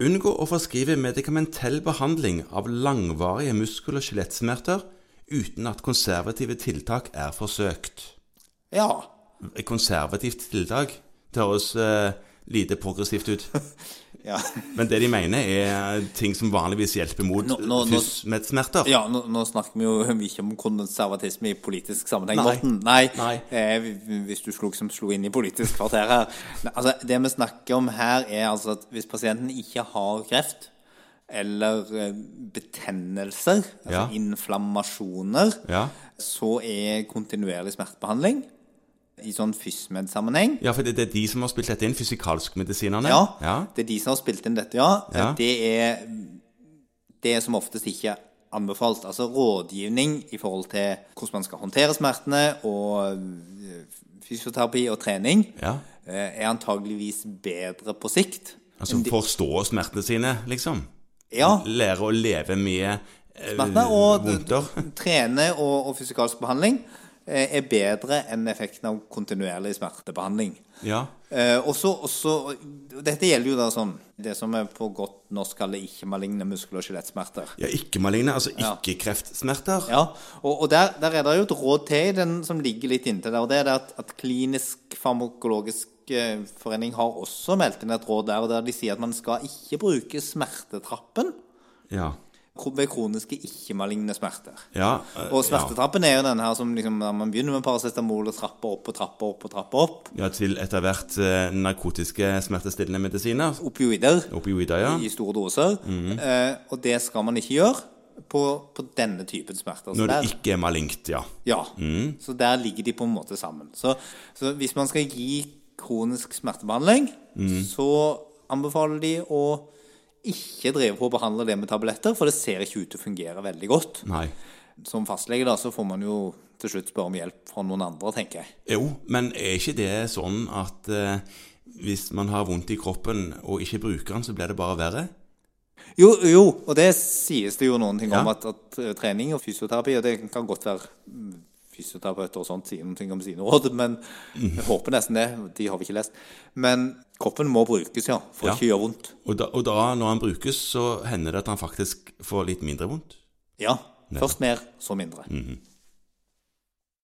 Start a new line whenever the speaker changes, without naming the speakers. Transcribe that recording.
Unngå å forskrive medikamentell behandling av langvarige muskel- og skjelettsmerter uten at konservative tiltak er forsøkt.
Ja.
Konservativt tiltak det høres eh, lite progressivt ut.
Ja,
Men det de mener, er eh, ting som vanligvis hjelper mot
Nå- nå- nå-
fysmedsmerter.
ja nå, nå snakker vi jo ikke om konservatisme i politisk sammenheng,
Nei.
Morten. Nei.
Nei.
Eh, hvis du slo, liksom slo inn i politisk kvarter her. Ne, Altså, det vi snakker om her, er altså at hvis pasienten ikke har kreft eller eh, betennelser, altså
Ja.
inflammasjoner,
Ja.
så er kontinuerlig smertebehandling i sånn FysMed-sammenheng
Ja, for det, det er de som har spilt dette inn, fysikalskmedisinerne.
Ja,
ja.
det er de som har spilt inn dette, ja.
Ja.
Det er det er som oftest ikke anbefalt. Altså rådgivning i forhold til hvordan man skal håndtere smertene, og øh, fysioterapi og trening,
Ja.
eh, er antageligvis bedre på sikt.
Altså forstå smertene sine, liksom.
Ja,
Lære å leve med eh,
smertene og
vondter.
trene og, og fysikalsk behandling eh, er bedre enn effekten av kontinuerlig smertebehandling.
Ja.
Eh, også, også, og dette gjelder jo da sånn det som vi på godt norsk kaller ikke-maligne muskel- og skjelettsmerter.
ja, ikke maligne, altså ikke kreftsmerter.
Ja, og, og der, der er det jo et råd til i den som ligger litt inntil der, og det er det at, at Klinisk farmakologisk eh, forening har også meldt inn et råd der, og der de sier at man skal ikke bruke smertetrappen
Ja.
kro- ved kroniske ikke-maligne smerter.
Ja, eh,
Og smertetrappen er jo den her som liksom, der man begynner med paracetamol og trapper opp og trapper opp og trapper opp.
ja, til etter hvert eh, narkotiske smertestillende medisiner.
Opioider
Opioider, ja.
i store doser.
Mm.
eh, og det skal man ikke gjøre på, på denne typen smerter. Så
Når
der-
det ikke Mm. er malignt, ja.
Ja, så der ligger de på en måte sammen. Så, så hvis man skal gi kronisk smertebehandling,
Mm.
så anbefaler de å ikke drive på å behandle det med tabletter, for det ser ikke ut til å fungere veldig godt.
Nei.
Som fastlege da, så får man jo til slutt spørre om hjelp fra noen andre, tenker jeg.
Jo, men er ikke det sånn at eh, hvis man har vondt i kroppen og ikke bruker den, så blir det bare verre?
Jo, jo, og det sies det jo noen ting om
Ja.
at, at eh, trening og fysioterapi, og det kan godt være mm, fysioterapeuter og sånt sier noen ting om sine råd, men
Mhm.
jeg håper nesten det, de har vi ikke lest. Men kroppen må brukes, ja, for
Ja.
ikke å gjøre vondt.
Og da, og da, når han brukes, så hender det at han faktisk får litt mindre vondt?
Ja. Først mer, så mindre.